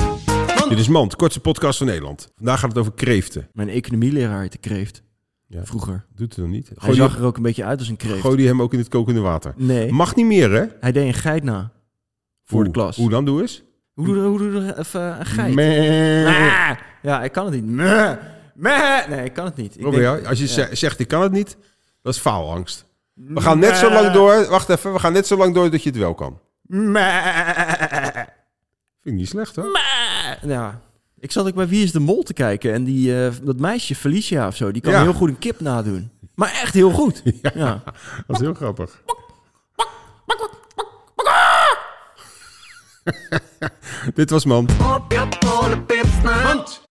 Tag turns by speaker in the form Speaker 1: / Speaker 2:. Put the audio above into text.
Speaker 1: Mand.
Speaker 2: Dit is Mand, kortste podcast van Nederland. Vandaag gaat het over kreeften.
Speaker 1: Mijn economieleraar heette Kreeft.
Speaker 2: Ja.
Speaker 1: Vroeger.
Speaker 2: Doet het nog niet.
Speaker 1: Hij
Speaker 2: Gooi die,
Speaker 1: zag er ook een beetje uit als een kreeft.
Speaker 2: gooi die hem ook in het kokende water.
Speaker 1: Nee,
Speaker 2: Mag niet meer, hè?
Speaker 1: hij deed een geit na. Voor de
Speaker 2: Hoe-
Speaker 1: klas.
Speaker 2: Hoe dan? Doe eens.
Speaker 1: Hoe doe hoe doe je even een geit?
Speaker 2: Meh.
Speaker 1: Ah! Ja, ik kan het niet. Meh. Meh. Nee, ik kan het niet. Ik
Speaker 2: Robin,
Speaker 1: denk-
Speaker 2: ja, als je ze- zegt, ik kan het niet, dat is faalangst. We gaan
Speaker 1: Meh.
Speaker 2: net zo lang door. Wacht even, we gaan net zo lang door dat je het wel kan.
Speaker 1: Meh.
Speaker 2: Vind ik niet slecht, hoor.
Speaker 1: Meh. Ja. Ik zat ook bij Wie is de Mol te kijken. En die, eh, dat meisje, Felicia of zo, die kan
Speaker 2: Ja.
Speaker 1: heel goed een kip nadoen. Maar echt heel goed. Ja.
Speaker 2: Dat is heel grappig. Dit was Man.
Speaker 3: op je polenpips na.